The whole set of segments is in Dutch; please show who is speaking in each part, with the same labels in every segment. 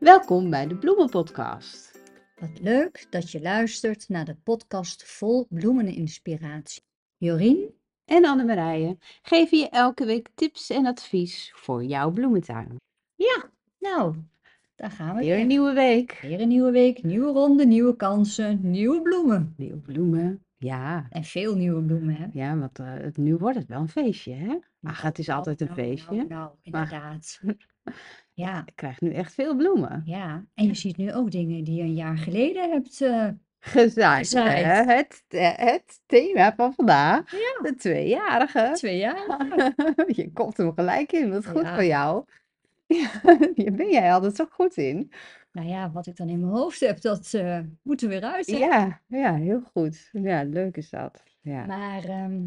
Speaker 1: Welkom bij de Bloemenpodcast.
Speaker 2: Wat leuk dat je luistert naar de podcast vol bloemeninspiratie. Jorien,
Speaker 1: En Annemarije geven je elke week tips en advies voor jouw bloementuin.
Speaker 2: nou, daar gaan we
Speaker 1: Weer een
Speaker 2: weer.
Speaker 1: nieuwe week.
Speaker 2: Weer een nieuwe week, nieuwe ronde, nieuwe kansen, nieuwe bloemen.
Speaker 1: Nieuwe bloemen. Ja,
Speaker 2: En veel nieuwe bloemen, hè?
Speaker 1: ja want eh, het, nu wordt het wel een feestje, hè? Ach, Ah, het is altijd een
Speaker 2: Nou, nou,
Speaker 1: feestje.
Speaker 2: Nou, inderdaad. Ja,
Speaker 1: Ik krijg nu echt veel bloemen.
Speaker 2: ja. En je ziet nu ook dingen die je een jaar geleden hebt. eh,
Speaker 1: Gezaaid.
Speaker 2: Gezaaid.
Speaker 1: hè? Het, eh, het thema van vandaag.
Speaker 2: Ja.
Speaker 1: De tweejarige.
Speaker 2: twee jaar.
Speaker 1: Je komt hem gelijk in. Wat goed
Speaker 2: Ja.
Speaker 1: van jou. Ja, Hier ben jij altijd zo goed in.
Speaker 2: Nou ja, wat ik dan in mijn hoofd heb, dat eh, moet er weer uit. hè?
Speaker 1: Ja, ja, heel goed. Ja, leuk is dat. Ja.
Speaker 2: Maar ehm,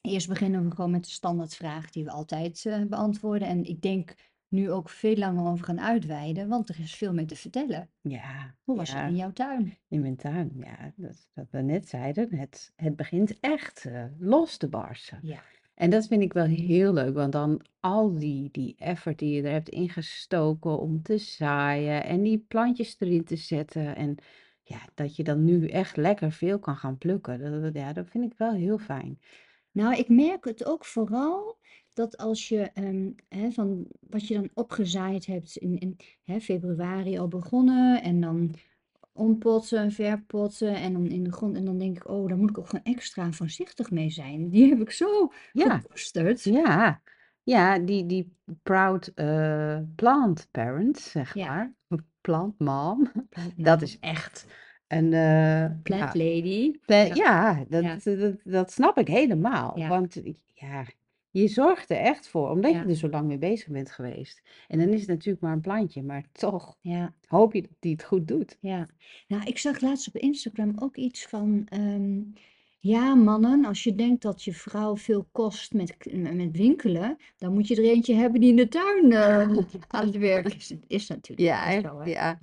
Speaker 2: eerst beginnen we gewoon met de standaardvraag die we altijd eh, beantwoorden. En ik denk nu ook veel langer over gaan uitweiden, want er is veel meer te vertellen.
Speaker 1: Ja,
Speaker 2: Hoe was het
Speaker 1: ja,
Speaker 2: in jouw tuin?
Speaker 1: in mijn tuin. Ja, dat, wat we net zeiden, het, het begint echt eh, los te barsten.
Speaker 2: Ja.
Speaker 1: En dat vind ik wel heel leuk, want dan al die, die effort die je er hebt ingestoken om te zaaien en die plantjes erin te zetten. En ja, dat je dan nu echt lekker veel kan gaan plukken. Dat, dat- ja, dat vind ik wel heel fijn.
Speaker 2: Nou, ik merk het ook vooral dat als je ehm, hè, van wat je dan opgezaaid hebt in, in hè, februari al begonnen en dan ompotten, verpotten en dan in de grond. En dan denk ik, oh, daar moet ik ook gewoon extra voorzichtig mee zijn. Die heb ik zo
Speaker 1: Ja.
Speaker 2: gekoesterd.
Speaker 1: Ja, ja, die, die proud eh, plant parent, zeg
Speaker 2: Ja.
Speaker 1: maar. Plant mom.
Speaker 2: Nou,
Speaker 1: Dat is echt een. eh,
Speaker 2: Plant
Speaker 1: ja,
Speaker 2: lady.
Speaker 1: pla-
Speaker 2: ja.
Speaker 1: ja, dat,
Speaker 2: Ja.
Speaker 1: Dat, dat, snap ik helemaal.
Speaker 2: Ja.
Speaker 1: Want eh, ja, je zorgt er echt voor, omdat
Speaker 2: Ja.
Speaker 1: je er zo lang mee bezig bent geweest. En dan is het natuurlijk maar een plantje, maar toch
Speaker 2: Ja,
Speaker 1: hoop je dat die het goed doet.
Speaker 2: ja. Nou, ik zag laatst op Instagram ook iets van, ehm, ja mannen, als je denkt dat je vrouw veel kost met, k- m- met winkelen, dan moet je er eentje hebben die in de tuin eh, aan het werk is. Dat is natuurlijk
Speaker 1: Ja,
Speaker 2: niet
Speaker 1: echt,
Speaker 2: zo, hè?
Speaker 1: ja,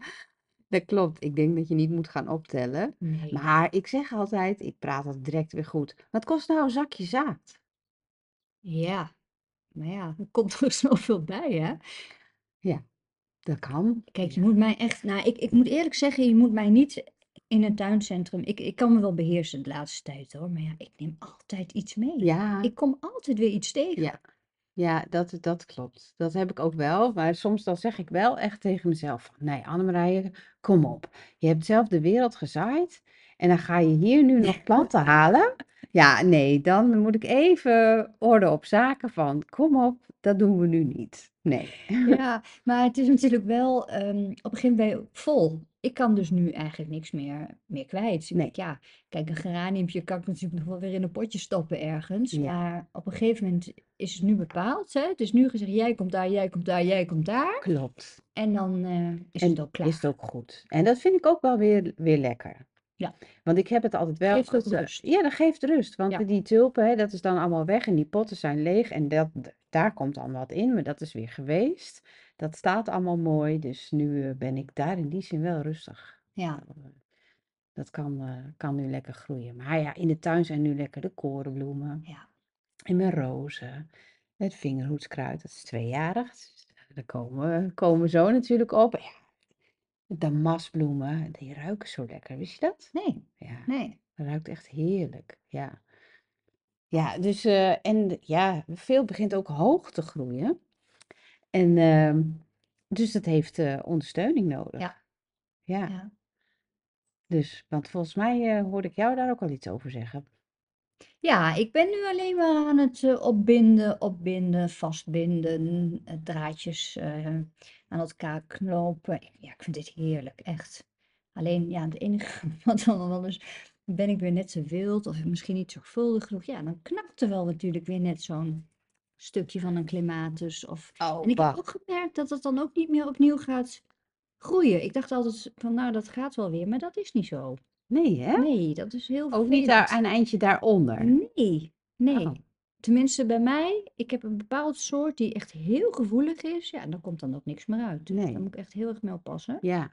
Speaker 1: dat klopt. Ik denk dat je niet moet gaan optellen.
Speaker 2: Nee.
Speaker 1: Maar ik zeg altijd, ik praat dat direct weer goed. Wat kost nou een zakje zaad?
Speaker 2: Ja, maar ja, er komt er zoveel bij, hè?
Speaker 1: Dat kan.
Speaker 2: Kijk, je
Speaker 1: Ja.
Speaker 2: moet mij echt, nou, ik, ik moet eerlijk zeggen, je moet mij niet in een tuincentrum, ik, ik kan me wel beheersen de laatste tijd, hoor, maar ja, ik neem altijd iets mee.
Speaker 1: Ja,
Speaker 2: Ik kom altijd weer iets tegen.
Speaker 1: Ja. ja dat, dat klopt. Dat heb ik ook wel. Maar soms dan zeg ik wel echt tegen mezelf van, nee Annemarije, kom op. Je hebt zelf de wereld gezaaid en dan ga je hier nu nog planten halen. Ja, nee, dan moet ik even orde op zaken van, kom op, dat doen we nu niet. Nee.
Speaker 2: Ja, maar het is natuurlijk wel, ehm, op een gegeven moment ben je ook vol. Ik kan dus nu eigenlijk niks meer, meer kwijt. Ik
Speaker 1: Nee.
Speaker 2: denk, ja, kijk, een geraniumpje kan ik natuurlijk nog wel weer in een potje stoppen ergens.
Speaker 1: Ja.
Speaker 2: Maar op een gegeven moment is het nu bepaald, hè? Het is nu gezegd, jij komt daar, jij komt daar, jij komt daar.
Speaker 1: Klopt.
Speaker 2: En dan eh, is
Speaker 1: En
Speaker 2: het ook klaar.
Speaker 1: Is het ook goed. En dat vind ik ook wel weer, weer lekker.
Speaker 2: Ja.
Speaker 1: Want ik heb het altijd wel.
Speaker 2: Geeft ook
Speaker 1: geze-
Speaker 2: rust.
Speaker 1: Ja, dat geeft rust. Want
Speaker 2: Ja.
Speaker 1: die tulpen, hè, dat is dan allemaal weg en die potten zijn leeg. En dat, d- daar komt dan wat in, maar dat is weer geweest. Dat staat allemaal mooi. Dus nu eh, ben ik daar in die zin wel rustig. Nou, eh,
Speaker 2: Ja,
Speaker 1: Dat kan, eh, kan nu lekker groeien. Maar ja, in de tuin zijn nu lekker de korenbloemen
Speaker 2: ja,
Speaker 1: en mijn rozen. Het vingerhoedskruid, dat is tweejarig. Dus Daar komen, we- komen we zo natuurlijk op. Ja, de masbloemen, die ruiken zo lekker, wist je dat?
Speaker 2: nee,
Speaker 1: Ja,
Speaker 2: nee.
Speaker 1: dat ruikt echt heerlijk. Ja, ja dus eh, en de- ja, veel begint ook hoog te groeien. En ehm, dus dat heeft eh, ondersteuning nodig.
Speaker 2: Ja.
Speaker 1: Ja,
Speaker 2: Ja.
Speaker 1: dus, want volgens mij eh, hoorde ik jou daar ook al iets over zeggen.
Speaker 2: Ja, ik ben nu alleen maar aan het eh, opbinden, opbinden, vastbinden, eh, draadjes eh, aan elkaar knopen. Ik- Ja, ik vind dit heerlijk, echt. Alleen, ja, het enige wat dan wel is, ben ik weer net zo wild of misschien niet zorgvuldig genoeg. Ja, dan knakt er wel natuurlijk weer net zo'n stukje van een clematis. Of...
Speaker 1: Oh,
Speaker 2: En ik heb
Speaker 1: wacht.
Speaker 2: ook gemerkt dat het dan ook niet meer opnieuw gaat groeien. Ik dacht altijd van, nou, dat gaat wel weer, maar dat is niet zo.
Speaker 1: Nee, hè?
Speaker 2: Nee, dat is heel
Speaker 1: Ook niet daar,
Speaker 2: vervelend.
Speaker 1: een eindje daaronder.
Speaker 2: Mm. Nee, nee.
Speaker 1: Oh.
Speaker 2: Tenminste, bij mij, ik heb een bepaald soort die echt heel gevoelig is. Ja, en daar komt dan ook niks meer uit. Dus
Speaker 1: Nee.
Speaker 2: daar moet ik echt heel erg mee oppassen.
Speaker 1: Ja,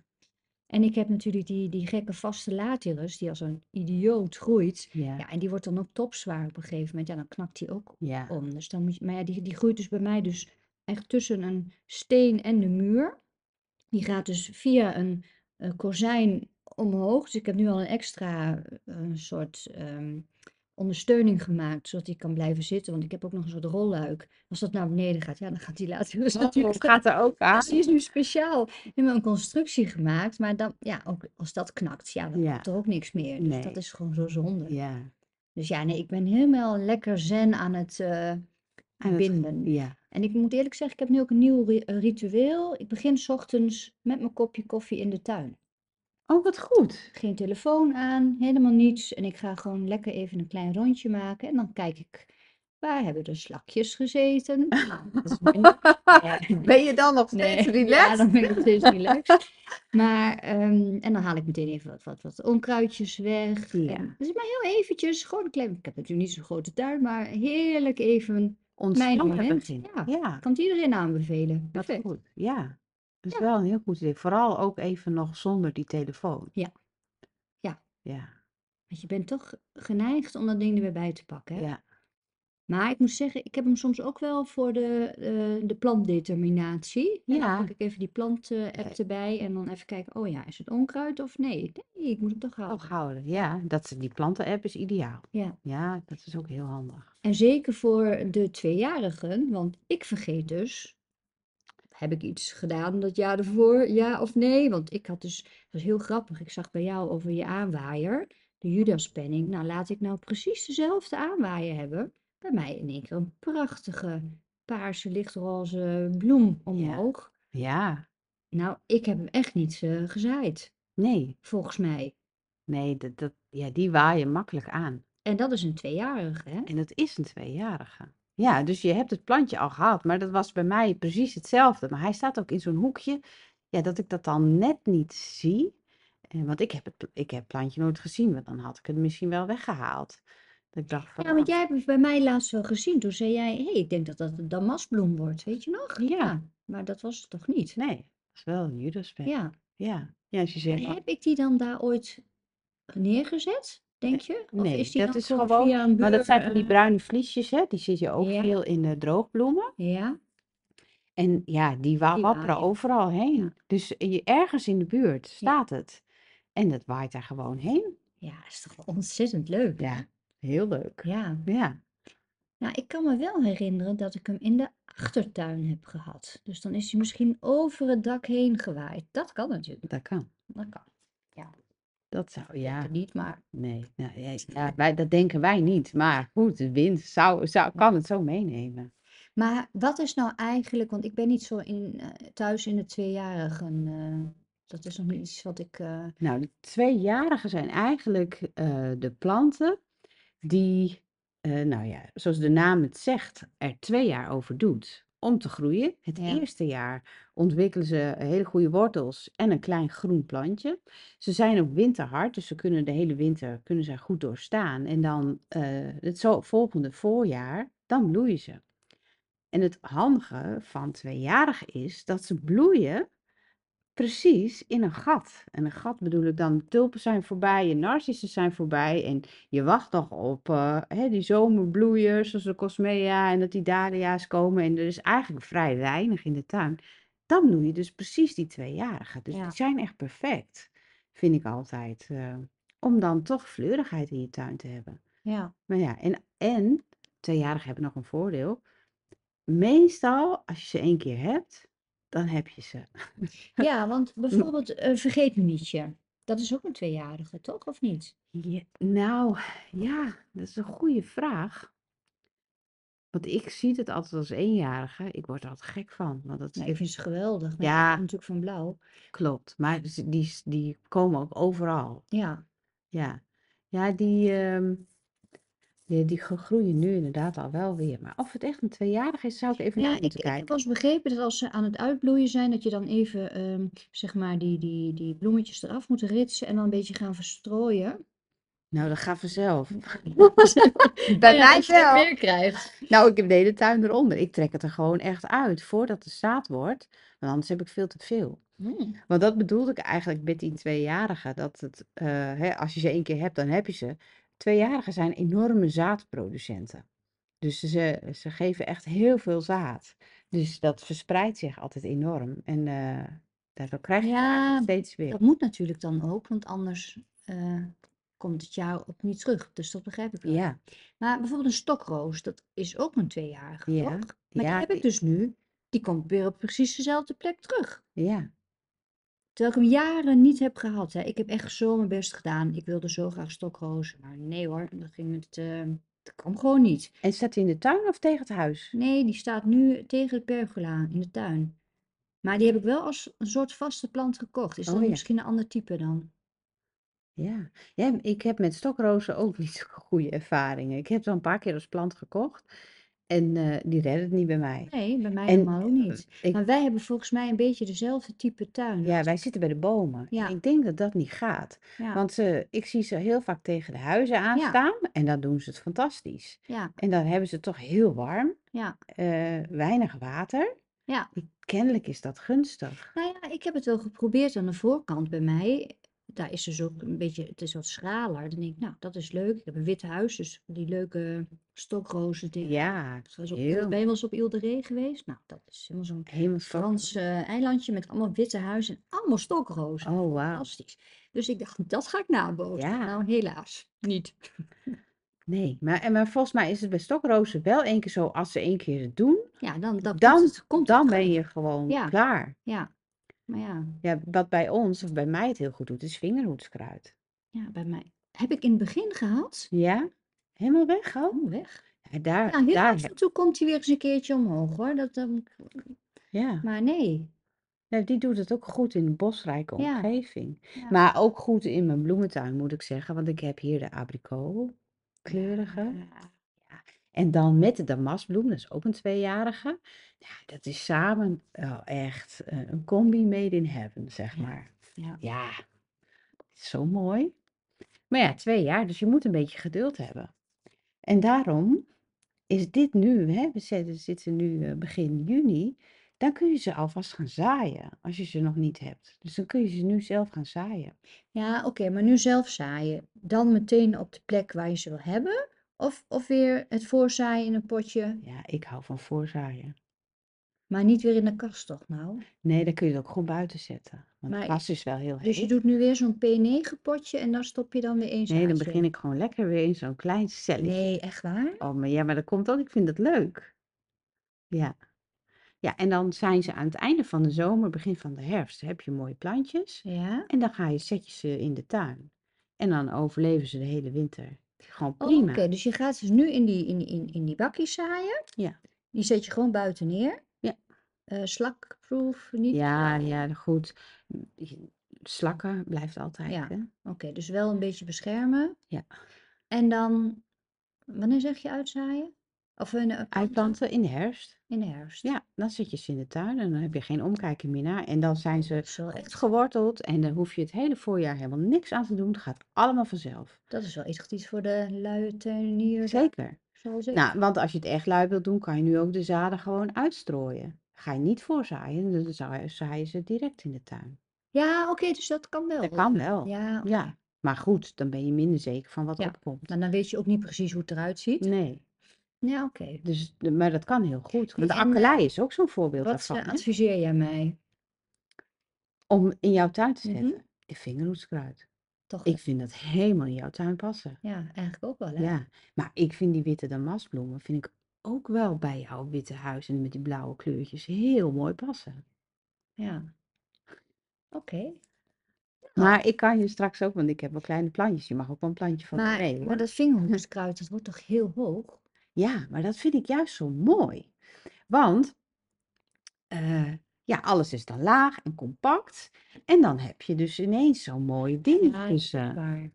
Speaker 2: En ik heb natuurlijk die, die gekke vaste latirus, die als een idioot groeit.
Speaker 1: ja,
Speaker 2: Ja, en die wordt dan ook topzwaar op een gegeven moment. Ja, dan knakt die ook
Speaker 1: ja.
Speaker 2: om. Dus dan moet je, maar ja, die, die groeit dus bij mij dus echt tussen een steen en de muur. Die gaat dus via een eh, kozijn omhoog. Dus ik heb nu al een extra eh, een soort ehm, ondersteuning gemaakt, zodat die kan blijven zitten. Want ik heb ook nog een soort rolluik. Als dat naar beneden gaat, ja, dan gaat die later dus
Speaker 1: Oh,
Speaker 2: natuurlijk
Speaker 1: gaat er ook aan?
Speaker 2: dus die is nu speciaal helemaal een constructie gemaakt. Maar dan, ja, ook als dat knakt, ja, dan
Speaker 1: Ja.
Speaker 2: komt er ook niks meer. Dus
Speaker 1: Nee.
Speaker 2: dat is gewoon zo zonde.
Speaker 1: Ja.
Speaker 2: Dus ja, nee, ik ben helemaal lekker zen aan het eh,
Speaker 1: Aan het-
Speaker 2: binden.
Speaker 1: Ja.
Speaker 2: En ik moet eerlijk zeggen, ik heb nu ook een nieuw ri- eh, ritueel. Ik begin 's ochtends met mijn kopje koffie in de tuin.
Speaker 1: Oh, wat goed.
Speaker 2: Geen telefoon aan, helemaal niets. En ik ga gewoon lekker even een klein rondje maken. En dan kijk ik, waar hebben de slakjes gezeten? Nou, dat is mijn- Ja.
Speaker 1: Ben je dan nog
Speaker 2: Nee,
Speaker 1: steeds
Speaker 2: ja,
Speaker 1: relaxed?
Speaker 2: dan ben ik nog steeds relaxed. Maar, ehm, en dan haal ik meteen even wat, wat, wat onkruidjes weg.
Speaker 1: Ja.
Speaker 2: En, dus maar heel eventjes, gewoon een klein, ik heb natuurlijk niet zo'n grote tuin, maar heerlijk even mijn
Speaker 1: Ontspannen
Speaker 2: moment.
Speaker 1: begin.
Speaker 2: Ja,
Speaker 1: Ja,
Speaker 2: kan het iedereen aanbevelen.
Speaker 1: wat
Speaker 2: Perfect.
Speaker 1: goed. Ja. Dat is
Speaker 2: Ja.
Speaker 1: wel een heel goed idee. Vooral ook even nog zonder die telefoon.
Speaker 2: Ja. Ja.
Speaker 1: Ja.
Speaker 2: Want je bent toch geneigd om dat ding er weer bij te pakken. hè?
Speaker 1: Ja.
Speaker 2: Maar ik moet zeggen, ik heb hem soms ook wel voor de, eh, de plantdeterminatie. En
Speaker 1: Ja. Eh.
Speaker 2: Dan pak ik even die plant-app erbij en dan even kijken, oh ja, is het onkruid of nee? Nee, ik moet hem toch houden.
Speaker 1: Ook houden. Ja. Dat, die planten-app is ideaal.
Speaker 2: Ja.
Speaker 1: Ja, dat is ook heel handig.
Speaker 2: En zeker voor de tweejarigen, want ik vergeet dus, heb ik iets gedaan dat jaar ervoor, ja of nee? Want ik had dus, dat was heel grappig, ik zag bij jou over je aanwaaier, de Judaspenning. Nou, laat ik nou precies dezelfde aanwaaier hebben. Bij mij in één keer een prachtige paarse, lichtroze bloem omhoog.
Speaker 1: Ja.
Speaker 2: Nou, ik heb hem echt niet eh, gezaaid,
Speaker 1: Nee.
Speaker 2: volgens mij.
Speaker 1: Nee, dat, dat, ja, die waaien makkelijk aan.
Speaker 2: En dat is een tweejarige, hè?
Speaker 1: En dat is een tweejarige. Ja, dus je hebt het plantje al gehad, maar dat was bij mij precies hetzelfde. Maar hij staat ook in zo'n hoekje, ja, dat ik dat dan net niet zie. En, want ik heb het pl- ik heb het plantje nooit gezien, want dan had ik het misschien wel weggehaald. Dat ik dacht van,
Speaker 2: Ja, want
Speaker 1: ah,
Speaker 2: jij hebt het bij mij laatst wel gezien. Toen zei jij, hé, hey, ik denk dat dat een damastbloem wordt, weet je nog?
Speaker 1: Ja.
Speaker 2: maar dat was het toch niet?
Speaker 1: nee, dat is wel een Judaspen. Ja.
Speaker 2: Ja.
Speaker 1: ja. als je zegt,
Speaker 2: En heb ik die dan daar ooit neergezet, denk je? Of
Speaker 1: nee,
Speaker 2: is die
Speaker 1: dat
Speaker 2: dan
Speaker 1: is gewoon-
Speaker 2: via een eh,
Speaker 1: maar dat zijn van die
Speaker 2: buur,
Speaker 1: bruine vliesjes, hè? Die zit je ook
Speaker 2: ja.
Speaker 1: veel in de droogbloemen.
Speaker 2: eh, Ja,
Speaker 1: En ja, die wa-
Speaker 2: Die
Speaker 1: wapperen
Speaker 2: waaien.
Speaker 1: overal
Speaker 2: Ja.
Speaker 1: heen. Dus je, ergens in de buurt staat het. En dat waait daar gewoon heen.
Speaker 2: ja, is toch wel ontzettend leuk? hè?
Speaker 1: Ja, heel leuk.
Speaker 2: Ja.
Speaker 1: Ja.
Speaker 2: Nou, ik kan me wel herinneren dat ik hem in de achtertuin heb gehad. Dus dan is hij misschien over het dak heen gewaaid. Dat kan natuurlijk.
Speaker 1: Dat kan.
Speaker 2: Dat kan. Ja,
Speaker 1: Dat zou,
Speaker 2: dat
Speaker 1: ja,
Speaker 2: niet, maar
Speaker 1: nee. Nou, ja, ja, wij, dat denken wij niet. Maar goed, de wind zou, zou, kan het zo meenemen.
Speaker 2: Maar wat is nou eigenlijk, want ik ben niet zo in, eh, thuis in de tweejarigen. eh, dat is nog niet iets wat ik. eh,
Speaker 1: Nou, de tweejarigen zijn eigenlijk eh, de planten die, eh, nou ja, zoals de naam het zegt, er twee jaar over doet om te groeien. Het
Speaker 2: Ja.
Speaker 1: eerste jaar ontwikkelen ze hele goede wortels en een klein groen plantje. Ze zijn ook winterhard, dus ze kunnen de hele winter kunnen ze goed doorstaan. En dan eh, het zo, volgende voorjaar, dan bloeien ze. En het handige van tweejarig is dat ze bloeien precies in een gat. En een gat bedoel ik dan, tulpen zijn voorbij, je narcissen zijn voorbij en je wacht nog op eh, hè, die zomerbloeiers zoals de cosmea en dat die dahlia's komen en er is eigenlijk vrij weinig in de tuin. Dan bloei je dus precies die tweejarigen. Dus
Speaker 2: Ja.
Speaker 1: die zijn echt perfect, vind ik altijd, eh, om dan toch fleurigheid in je tuin te hebben.
Speaker 2: ja.
Speaker 1: Maar ja, en, en tweejarigen hebben nog een voordeel. Meestal, als je ze één keer hebt, dan heb je ze.
Speaker 2: Ja, want bijvoorbeeld eh, vergeet me nietje. Dat is ook een tweejarige, toch? Of niet?
Speaker 1: Ja, nou, ja, dat is een goede vraag. Want ik zie het altijd als eenjarige. Ik word er altijd gek van. Want dat
Speaker 2: Nou, ik
Speaker 1: is
Speaker 2: vind ze geweldig. Maar
Speaker 1: Ja.
Speaker 2: ik ben natuurlijk van blauw.
Speaker 1: klopt. Maar ze- die, s- die komen ook overal.
Speaker 2: Ja,
Speaker 1: Ja, ja die, ehm, die, die ge- groeien nu inderdaad al wel weer. Maar of het echt een tweejarige is, zou ik even
Speaker 2: ja
Speaker 1: naar
Speaker 2: ik,
Speaker 1: moeten
Speaker 2: ik heb
Speaker 1: kijken.
Speaker 2: wel eens begrepen dat als ze aan het uitbloeien zijn, dat je dan even ehm, zeg maar die, die, die bloemetjes eraf moet ritsen en dan een beetje gaan verstrooien.
Speaker 1: Nou, dat gaat vanzelf.
Speaker 2: Ja,
Speaker 1: mij
Speaker 2: als je dat
Speaker 1: wel.
Speaker 2: weer krijgt.
Speaker 1: Nou, ik heb de hele tuin eronder. Ik trek het er gewoon echt uit voordat de zaad wordt. Want anders heb ik veel te veel.
Speaker 2: Hmm.
Speaker 1: Want dat bedoelde ik eigenlijk met die tweejarigen. Dat het, eh, hè, als je ze één keer hebt, dan heb je ze. Tweejarigen zijn enorme zaadproducenten. Dus ze, ze geven echt heel veel zaad. Dus dat verspreidt zich altijd enorm. En eh, Daardoor krijg je het
Speaker 2: Ja,
Speaker 1: steeds weer.
Speaker 2: dat moet natuurlijk dan ook, want anders eh, komt het jaar op niet terug. Dus dat begrijp ik wel.
Speaker 1: Ja,
Speaker 2: Maar bijvoorbeeld een stokroos, dat is ook een tweejarige,
Speaker 1: Ja,
Speaker 2: toch? Maar die
Speaker 1: ja,
Speaker 2: heb ik
Speaker 1: i-
Speaker 2: dus nu, die komt weer op precies dezelfde plek terug.
Speaker 1: ja,
Speaker 2: Terwijl ik hem jaren niet heb gehad. Hè. Ik heb echt zo mijn best gedaan. Ik wilde zo graag stokrozen, maar nee hoor, dat, ging het, eh, dat kwam gewoon niet.
Speaker 1: en staat hij in de tuin of tegen het huis?
Speaker 2: Nee, die staat nu tegen de pergola in de tuin. Maar die heb ik wel als een soort vaste plant gekocht. Is
Speaker 1: Oh
Speaker 2: dat
Speaker 1: ja.
Speaker 2: misschien een ander type dan?
Speaker 1: Ja. ja, ik heb met stokrozen ook niet zo'n goede ervaringen. Ik heb ze al een paar keer als plant gekocht en eh, die redden het niet bij mij.
Speaker 2: Nee, bij mij
Speaker 1: En
Speaker 2: helemaal ook
Speaker 1: eh,
Speaker 2: niet. Nou,
Speaker 1: ik,
Speaker 2: Maar wij hebben volgens mij een beetje dezelfde type tuin.
Speaker 1: ja,
Speaker 2: Als...
Speaker 1: wij zitten bij de bomen. En
Speaker 2: Ja,
Speaker 1: ik denk dat dat niet gaat.
Speaker 2: ja,
Speaker 1: Want ze, ik zie ze heel vaak tegen de huizen
Speaker 2: ja,
Speaker 1: aanstaan en dan doen ze het fantastisch.
Speaker 2: ja,
Speaker 1: En dan hebben ze het toch heel warm,
Speaker 2: ja,
Speaker 1: eh, weinig water.
Speaker 2: ja.
Speaker 1: Ik- Kennelijk is dat gunstig.
Speaker 2: Nou ja, ik heb het wel geprobeerd aan de voorkant bij mij. Daar is dus ook een beetje, het is wat schraler. Dan denk ik, nou, dat is leuk. Ik heb een wit huis, dus die leuke stokrozen dingen.
Speaker 1: Ja,
Speaker 2: Ik was op Ile- Ben
Speaker 1: heel
Speaker 2: je wel eens op Ile de Ré geweest? Nou, dat is helemaal zo'n
Speaker 1: helemaal
Speaker 2: Frans eh, eilandje met allemaal witte huizen en allemaal stokrozen.
Speaker 1: Oh, wauw.
Speaker 2: Fantastisch. Dus ik dacht, dat ga ik nabootsen.
Speaker 1: Ja,
Speaker 2: Nou, helaas niet.
Speaker 1: nee. Maar, en maar volgens mij is het bij stokrozen wel één keer zo, als ze één keer het doen,
Speaker 2: Ja, dan, dan komt
Speaker 1: dan,
Speaker 2: het, komt het
Speaker 1: dan ben
Speaker 2: gewoon.
Speaker 1: je gewoon
Speaker 2: Ja,
Speaker 1: klaar.
Speaker 2: ja. Maar ja,
Speaker 1: Ja, wat bij ons, of bij mij het heel goed doet, is vingerhoedskruid.
Speaker 2: ja, bij mij. Heb ik in het begin gehad?
Speaker 1: Ja, helemaal weg al?
Speaker 2: Oh, weg.
Speaker 1: Ja, daar,
Speaker 2: Ja, Nou, heel
Speaker 1: daar,
Speaker 2: af
Speaker 1: heb-
Speaker 2: en toe komt hij weer eens een keertje omhoog hoor. Dat, dan
Speaker 1: ja.
Speaker 2: maar nee.
Speaker 1: Nou, die doet het ook goed in een bosrijke
Speaker 2: Ja,
Speaker 1: omgeving.
Speaker 2: ja.
Speaker 1: Maar ook goed in mijn bloementuin, moet ik zeggen. Want ik heb hier de abrikool, kleurige.
Speaker 2: Ja,
Speaker 1: Ja. En dan met de damastbloem, dat is ook een tweejarige. Ja, dat is samen wel echt eh, een combi made in heaven, zeg
Speaker 2: ja,
Speaker 1: maar.
Speaker 2: ja.
Speaker 1: Ja, zo mooi. Maar ja, twee jaar, dus je moet een beetje geduld hebben. En daarom is dit nu, hè, we zetten- zitten nu eh, begin juni, dan kun je ze alvast gaan zaaien als je ze nog niet hebt. Dus dan kun je ze nu zelf gaan zaaien.
Speaker 2: Ja, oké, maar nu zelf zaaien. Dan meteen op de plek waar je ze wil hebben? Of, of weer het voorzaaien in een potje,
Speaker 1: Ja, ik hou van voorzaaien.
Speaker 2: maar niet weer in de kast toch nou?
Speaker 1: Nee, dan kun je het ook gewoon buiten zetten. Want de
Speaker 2: Maar,
Speaker 1: kast is wel heel
Speaker 2: dus je
Speaker 1: heet.
Speaker 2: doet nu weer zo'n P9 potje en dan stop je dan weer één
Speaker 1: Nee, dan
Speaker 2: zaadje
Speaker 1: Dus begin
Speaker 2: in.
Speaker 1: ik gewoon lekker weer in zo'n klein celletje.
Speaker 2: Nee, echt waar?
Speaker 1: Oh, maar ja, maar dat komt ook. Ik vind het leuk. Ja. Ja, en dan zijn ze aan het einde van de zomer, begin van de herfst, heb je mooie plantjes.
Speaker 2: Ja?
Speaker 1: En dan ga je, zet je ze in de tuin. En dan overleven ze de hele winter. Gewoon
Speaker 2: Oh, oké,
Speaker 1: prima.
Speaker 2: dus je gaat dus nu in die, in, in, in die bakjes zaaien.
Speaker 1: Ja.
Speaker 2: Die zet je gewoon buiten neer.
Speaker 1: Ja,
Speaker 2: Eh, slakproof, niet.
Speaker 1: ja,
Speaker 2: eh,
Speaker 1: ja, goed. Je- Slakken blijft altijd,
Speaker 2: Ja,
Speaker 1: hè?
Speaker 2: oké, dus wel een beetje beschermen.
Speaker 1: Ja.
Speaker 2: En dan, wanneer zeg je uitzaaien? Of in de planten?
Speaker 1: Uitplanten in de herfst.
Speaker 2: In de herfst.
Speaker 1: Ja, dan zit je ze in de tuin en dan heb je geen omkijken meer naar. En dan zijn
Speaker 2: Oh, dat
Speaker 1: ze
Speaker 2: is wel
Speaker 1: goed
Speaker 2: echt,
Speaker 1: geworteld en daar hoef je het hele voorjaar helemaal niks aan te doen. Het gaat allemaal vanzelf.
Speaker 2: dat is wel echt iets voor de luie tuinier, zeg,
Speaker 1: Zeker.
Speaker 2: zoals
Speaker 1: Nou,
Speaker 2: ik.
Speaker 1: want als je het echt lui wilt doen, kan je nu ook de zaden gewoon uitstrooien. Ga je niet voorzaaien, dan zaai zaai je ze direct in de tuin.
Speaker 2: Ja, oké, dus dat kan
Speaker 1: Dat
Speaker 2: wel.
Speaker 1: kan wel.
Speaker 2: Ja, oké.
Speaker 1: Ja, maar goed, dan ben je minder zeker van wat
Speaker 2: Ja,
Speaker 1: opkomt.
Speaker 2: maar Nou, dan weet je ook niet precies hoe het eruit ziet.
Speaker 1: Nee,
Speaker 2: Ja, oké.
Speaker 1: dus, maar dat kan heel goed. Want
Speaker 2: Hey,
Speaker 1: de
Speaker 2: en eh,
Speaker 1: akkelei is ook zo'n voorbeeld
Speaker 2: wat
Speaker 1: daarvan,
Speaker 2: eh,
Speaker 1: hè?
Speaker 2: adviseer jij mij?
Speaker 1: Om in jouw tuin te
Speaker 2: Mhm,
Speaker 1: zetten, de vingerhoedskruid.
Speaker 2: Toch
Speaker 1: Ik
Speaker 2: wel.
Speaker 1: vind dat helemaal in jouw tuin passen.
Speaker 2: Ja, eigenlijk ook wel, hè?
Speaker 1: Ja, maar ik vind die witte damastbloemen vind ik ook wel bij jouw witte huis en met die blauwe kleurtjes heel mooi passen.
Speaker 2: Ja, oké. Nou,
Speaker 1: Maar ik kan je straks ook, want ik heb wel kleine plantjes. Je mag ook wel een plantje van me
Speaker 2: maar,
Speaker 1: mee,
Speaker 2: maar
Speaker 1: hoor.
Speaker 2: dat vingerhoedskruid, dat wordt toch heel hoog?
Speaker 1: Ja, maar dat vind ik juist zo mooi. Want eh, ja, alles is dan laag en compact. En dan heb je dus ineens zo'n eh. mooi ding
Speaker 2: Ja, dat is
Speaker 1: tussen.
Speaker 2: waar.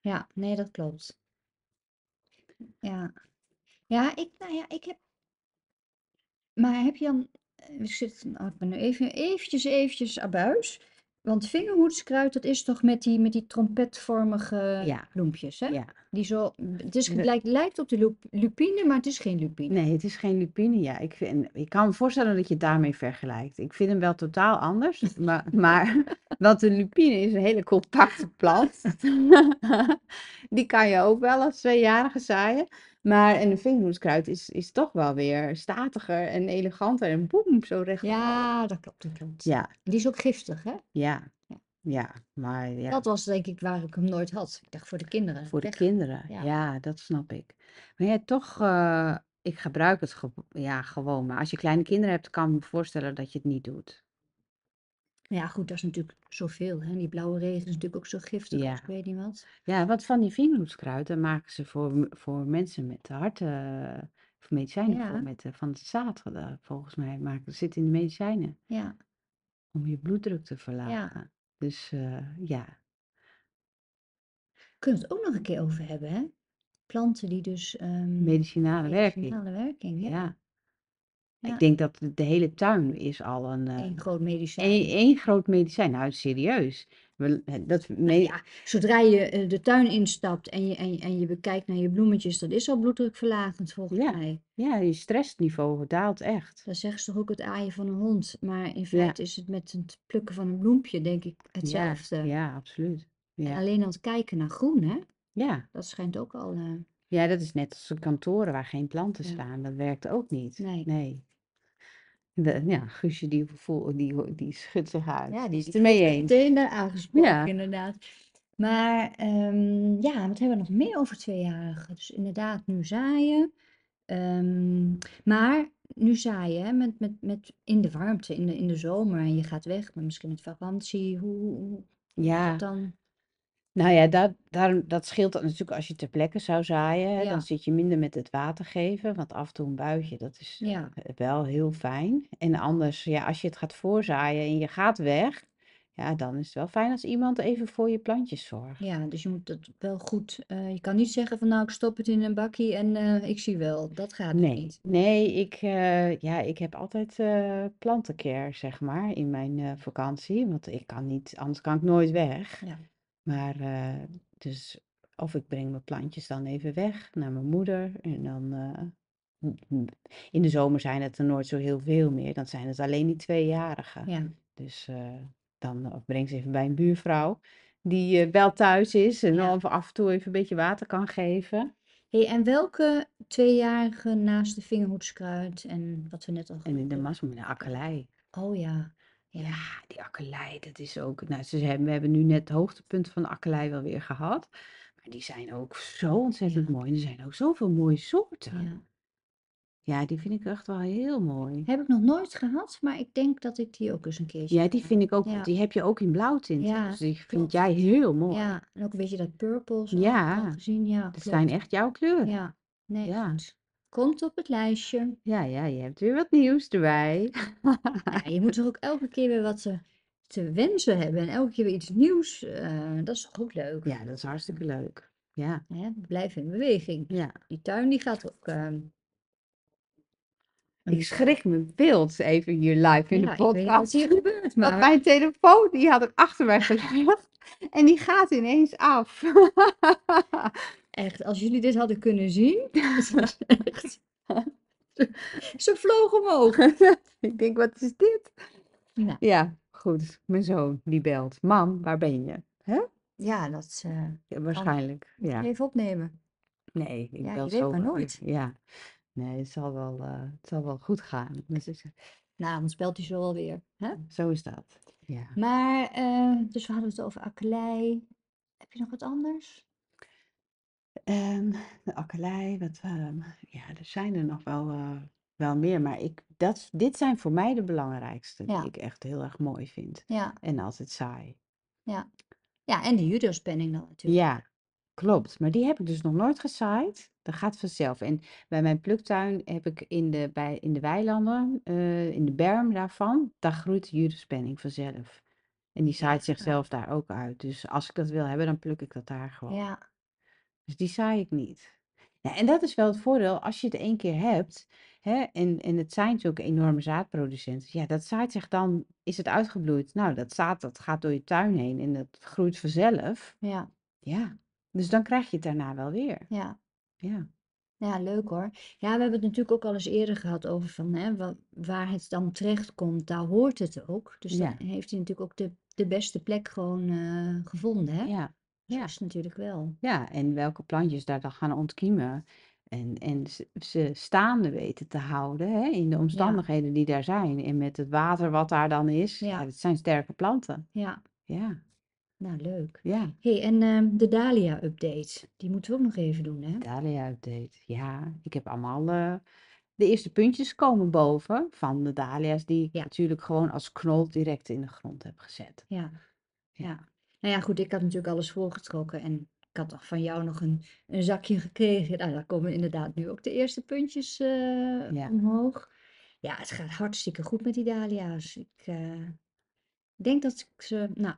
Speaker 2: Ja, nee, dat klopt. Ja, ja, ik, nou ja, ik heb. Maar heb je dan. eh, Ik zit, nou, ik ben nu even, eventjes, eventjes abuis. Want vingerhoedskruid, dat is toch met die, met die trompetvormige
Speaker 1: Ja,
Speaker 2: bloempjes, hè?
Speaker 1: ja.
Speaker 2: Die zo, het is,
Speaker 1: We-
Speaker 2: lijkt, lijkt op de lup- lupine, maar het is geen lupine.
Speaker 1: Nee, het is geen lupine. Ja, ik, vind, ik kan me voorstellen dat je het daarmee vergelijkt. Ik vind hem wel totaal anders. Maar, maar want de lupine is een hele compacte plant. Die kan je ook wel als tweejarige zaaien. Maar en een vingerhoedskruid is, is toch wel weer statiger en eleganter en boem, zo recht.
Speaker 2: Ja, dat klopt, dat klopt.
Speaker 1: Ja,
Speaker 2: Die is ook giftig, hè?
Speaker 1: ja,
Speaker 2: Ja.
Speaker 1: ja. Maar ja,
Speaker 2: Dat was denk ik waar ik hem nooit had. Ik dacht voor de kinderen.
Speaker 1: voor de
Speaker 2: weg.
Speaker 1: kinderen,
Speaker 2: Ja.
Speaker 1: ja, dat snap ik. Maar ja, toch, eh, ik gebruik het ge- ja, gewoon. Maar als je kleine kinderen hebt, kan ik me voorstellen dat je het niet doet.
Speaker 2: Maar Ja, goed, dat is natuurlijk zoveel. Hè? Die blauwe regen is natuurlijk ook zo giftig als ik
Speaker 1: Ja.
Speaker 2: weet niet wat.
Speaker 1: Ja, wat van die vingerhoedskruid, daar maken ze voor, m- voor mensen met harten, voor medicijnen, voor
Speaker 2: Ja,
Speaker 1: met, eh, van het zaad, eh, volgens mij, maken, zit in de medicijnen,
Speaker 2: ja,
Speaker 1: om je bloeddruk te
Speaker 2: ja.
Speaker 1: verlagen. Dus eh, ja,
Speaker 2: Kunnen we het ook nog een keer over hebben, hè? Planten die dus ehm,
Speaker 1: medicinale werking,
Speaker 2: medicinale werking, ja.
Speaker 1: ja. Ik
Speaker 2: Ja,
Speaker 1: denk dat de de hele tuin is al een, eh,
Speaker 2: één groot
Speaker 1: één,
Speaker 2: medicijn.
Speaker 1: één groot medicijn. Nou, serieus. We, eh, dat,
Speaker 2: Nou
Speaker 1: me-
Speaker 2: ja, zodra je eh, de tuin instapt en je, en, je- en je bekijkt naar je bloemetjes, dat is al bloeddrukverlagend volgens
Speaker 1: ja,
Speaker 2: mij.
Speaker 1: ja, je stressniveau daalt echt.
Speaker 2: Dat zeggen ze toch ook het aaien van een hond. Maar in
Speaker 1: Ja,
Speaker 2: feite is het met het plukken van een bloempje, denk ik,
Speaker 1: ja,
Speaker 2: hetzelfde.
Speaker 1: ja, absoluut.
Speaker 2: En
Speaker 1: Ja,
Speaker 2: alleen al het kijken naar groen, hè?
Speaker 1: ja.
Speaker 2: Dat schijnt ook al. eh,
Speaker 1: Ja, dat is net als de kantoren waar geen planten
Speaker 2: ja.
Speaker 1: staan. Dat werkt ook niet.
Speaker 2: Nee.
Speaker 1: Nee. De, ja, Guusje die, voel, die, ho- die schudt zich uit.
Speaker 2: Ja,
Speaker 1: Die
Speaker 2: die,
Speaker 1: is
Speaker 2: die
Speaker 1: het ermee
Speaker 2: voelt zich
Speaker 1: eens.
Speaker 2: meteen eh, aangesproken,
Speaker 1: Ja,
Speaker 2: inderdaad. Maar ehm, ja, wat hebben we nog meer over tweejarigen? Dus inderdaad, nu zaaien. Ehm, maar nu zaaien, hè, met, met, met in de warmte, in de, in de zomer. En je gaat weg, maar misschien met vakantie. Hoe, hoe, hoe is dat
Speaker 1: ja.
Speaker 2: dan?
Speaker 1: Nou ja, dat, daarom, dat scheelt dan natuurlijk als je ter plekke zou zaaien. hè, Dan
Speaker 2: Ja,
Speaker 1: zit je minder met het water geven. Want af en toe een buitje, dat is
Speaker 2: ja,
Speaker 1: eh, wel heel fijn. En anders, ja, als je het gaat voorzaaien en je gaat weg. Ja, dan is het wel fijn als iemand even voor je plantjes zorgt.
Speaker 2: ja. Dus je moet dat wel goed. eh, je kan niet zeggen van nou, ik stop het in een bakkie en eh, ik zie wel. Dat gaat dus
Speaker 1: Nee,
Speaker 2: niet.
Speaker 1: nee, ik, eh, ja, ik heb altijd eh plantencare, zeg maar, in mijn eh, vakantie. Want ik kan niet, anders kan ik nooit weg.
Speaker 2: Ja,
Speaker 1: Maar, eh, dus, of ik breng mijn plantjes dan even weg naar mijn moeder. En dan, eh, m- m- in de zomer zijn het er nooit zo heel veel meer. Dan zijn het alleen die tweejarigen.
Speaker 2: ja,
Speaker 1: Dus eh, dan eh, breng ik ze even bij een buurvrouw, die eh, wel thuis is en
Speaker 2: ja.
Speaker 1: dan af en toe even een beetje water kan geven.
Speaker 2: Hey, en welke tweejarige naast de vingerhoedskruid en wat we net al
Speaker 1: En in de
Speaker 2: hebben?
Speaker 1: massa met een akkerlei.
Speaker 2: Oh ja,
Speaker 1: Ja,
Speaker 2: ja,
Speaker 1: die akkerlei, dat is ook. Nou, ze hebben, we hebben nu net het hoogtepunt van de akkerlei wel weer gehad. Maar die zijn ook zo ontzettend
Speaker 2: ja,
Speaker 1: mooi. En er zijn ook zoveel mooie soorten.
Speaker 2: ja.
Speaker 1: Ja, die vind ik echt wel heel mooi.
Speaker 2: Heb ik nog nooit gehad, maar ik denk dat ik die ook eens een keertje
Speaker 1: Ja, die
Speaker 2: ga.
Speaker 1: vind ik ook.
Speaker 2: Ja,
Speaker 1: Die heb je ook in blauwtint. hè? Dus
Speaker 2: ja,
Speaker 1: die vind
Speaker 2: klopt.
Speaker 1: jij heel mooi.
Speaker 2: Ja, en ook een beetje dat purple, zo had ik al
Speaker 1: Ja,
Speaker 2: gezien. Ja,
Speaker 1: dat zijn
Speaker 2: klopt.
Speaker 1: echt jouw kleuren.
Speaker 2: Ja, nee,
Speaker 1: Ja,
Speaker 2: goed. Komt op het lijstje.
Speaker 1: ja, ja, je hebt weer wat nieuws erbij.
Speaker 2: Ja, je moet toch ook elke keer weer wat te, te wensen hebben en elke keer weer iets nieuws. eh, dat is toch ook leuk.
Speaker 1: Ja, dat is
Speaker 2: Dat, eh,
Speaker 1: hartstikke leuk. Ja,
Speaker 2: hè, we blijven in beweging.
Speaker 1: ja.
Speaker 2: Die tuin die gaat ook eh,
Speaker 1: Ik
Speaker 2: een
Speaker 1: schrik me wild even hier live in de
Speaker 2: Ja, ik weet niet wat
Speaker 1: podcast.
Speaker 2: hier gebeurt,
Speaker 1: Want
Speaker 2: maar
Speaker 1: mijn telefoon, die had ik achter mij gelegd. En die gaat ineens af.
Speaker 2: echt, als jullie dit hadden kunnen zien, het was echt, ze vloog omhoog.
Speaker 1: Ik denk, wat is dit?
Speaker 2: Nou,
Speaker 1: Ja, goed. Mijn zoon, die belt. Mam, waar ben je? Hè?
Speaker 2: ja, dat eh,
Speaker 1: Ja,
Speaker 2: kan.
Speaker 1: waarschijnlijk,
Speaker 2: Moet je
Speaker 1: ja.
Speaker 2: even opnemen.
Speaker 1: Nee, ik
Speaker 2: Ja,
Speaker 1: bel
Speaker 2: je weet
Speaker 1: zo.
Speaker 2: maar nooit.
Speaker 1: Ja, nee, het zal wel, eh, het zal wel goed gaan. Dus ik zeg,
Speaker 2: Nou, ons belt hij zo alweer. Hè?
Speaker 1: zo is dat. Ja.
Speaker 2: Maar, eh, dus we hadden het over akkelei. Heb je nog wat anders?
Speaker 1: Ehm, de akkerlei, wat, ehm, ja, er zijn er nog wel, eh, wel meer, maar ik, dat, dit zijn voor mij de belangrijkste, die
Speaker 2: Ja,
Speaker 1: ik echt heel erg mooi vind.
Speaker 2: ja,
Speaker 1: En altijd saai.
Speaker 2: ja. Ja, en de judospenning dan natuurlijk.
Speaker 1: Ja, klopt. Maar die heb ik dus nog nooit gezaaid. Dat gaat vanzelf. En bij mijn pluktuin heb ik in de, bij, in de weilanden, eh, in de berm daarvan, daar groeit de judaspenning vanzelf. En die
Speaker 2: Ja,
Speaker 1: zaait zichzelf daar ook uit. Dus als ik dat wil hebben, dan pluk ik dat daar gewoon.
Speaker 2: ja,
Speaker 1: Dus die saai ik niet. Ja, en dat is wel het voordeel als je het één keer hebt. Hè, en, en het zijn natuurlijk enorme zaadproducenten. Ja, dat zaait zich dan, is het uitgebloeid. Nou, dat zaad dat gaat door je tuin heen en dat groeit vanzelf.
Speaker 2: ja,
Speaker 1: Ja, dus dan krijg je het daarna wel weer.
Speaker 2: ja.
Speaker 1: Ja,
Speaker 2: Ja, leuk hoor. Ja, we hebben het natuurlijk ook al eens eerder gehad over van hè, wa- waar het dan terecht komt, daar hoort het ook. Dus dan
Speaker 1: ja,
Speaker 2: heeft hij natuurlijk ook de, de beste plek gewoon eh, gevonden, hè?
Speaker 1: ja,
Speaker 2: Zo is
Speaker 1: ja.
Speaker 2: het natuurlijk wel.
Speaker 1: Ja, en welke plantjes daar dan gaan ontkiemen. en, en ze, ze staande weten te houden hè, in de
Speaker 2: ja,
Speaker 1: omstandigheden die daar zijn. En met het water wat daar dan is. Ja,
Speaker 2: ja,
Speaker 1: het zijn sterke planten.
Speaker 2: ja.
Speaker 1: Ja,
Speaker 2: Nou, leuk.
Speaker 1: ja.
Speaker 2: hey, en ehm, de Dahlia-update, die moeten we ook nog even doen, hè?
Speaker 1: Dahlia update. Ja, ik heb allemaal eh, de eerste puntjes komen boven van de dahlia's die ik
Speaker 2: Ja,
Speaker 1: natuurlijk gewoon als knol direct in de grond heb gezet.
Speaker 2: ja,
Speaker 1: Ja.
Speaker 2: ja. Nou ja, goed, ik had natuurlijk alles voorgetrokken en ik had toch van jou nog een, een zakje gekregen. Nou, daar komen inderdaad nu ook de eerste puntjes eh,
Speaker 1: Ja.
Speaker 2: omhoog. Ja, het gaat hartstikke goed met die Dahlia's. Ik, eh, Ik denk dat ik ze. Nou,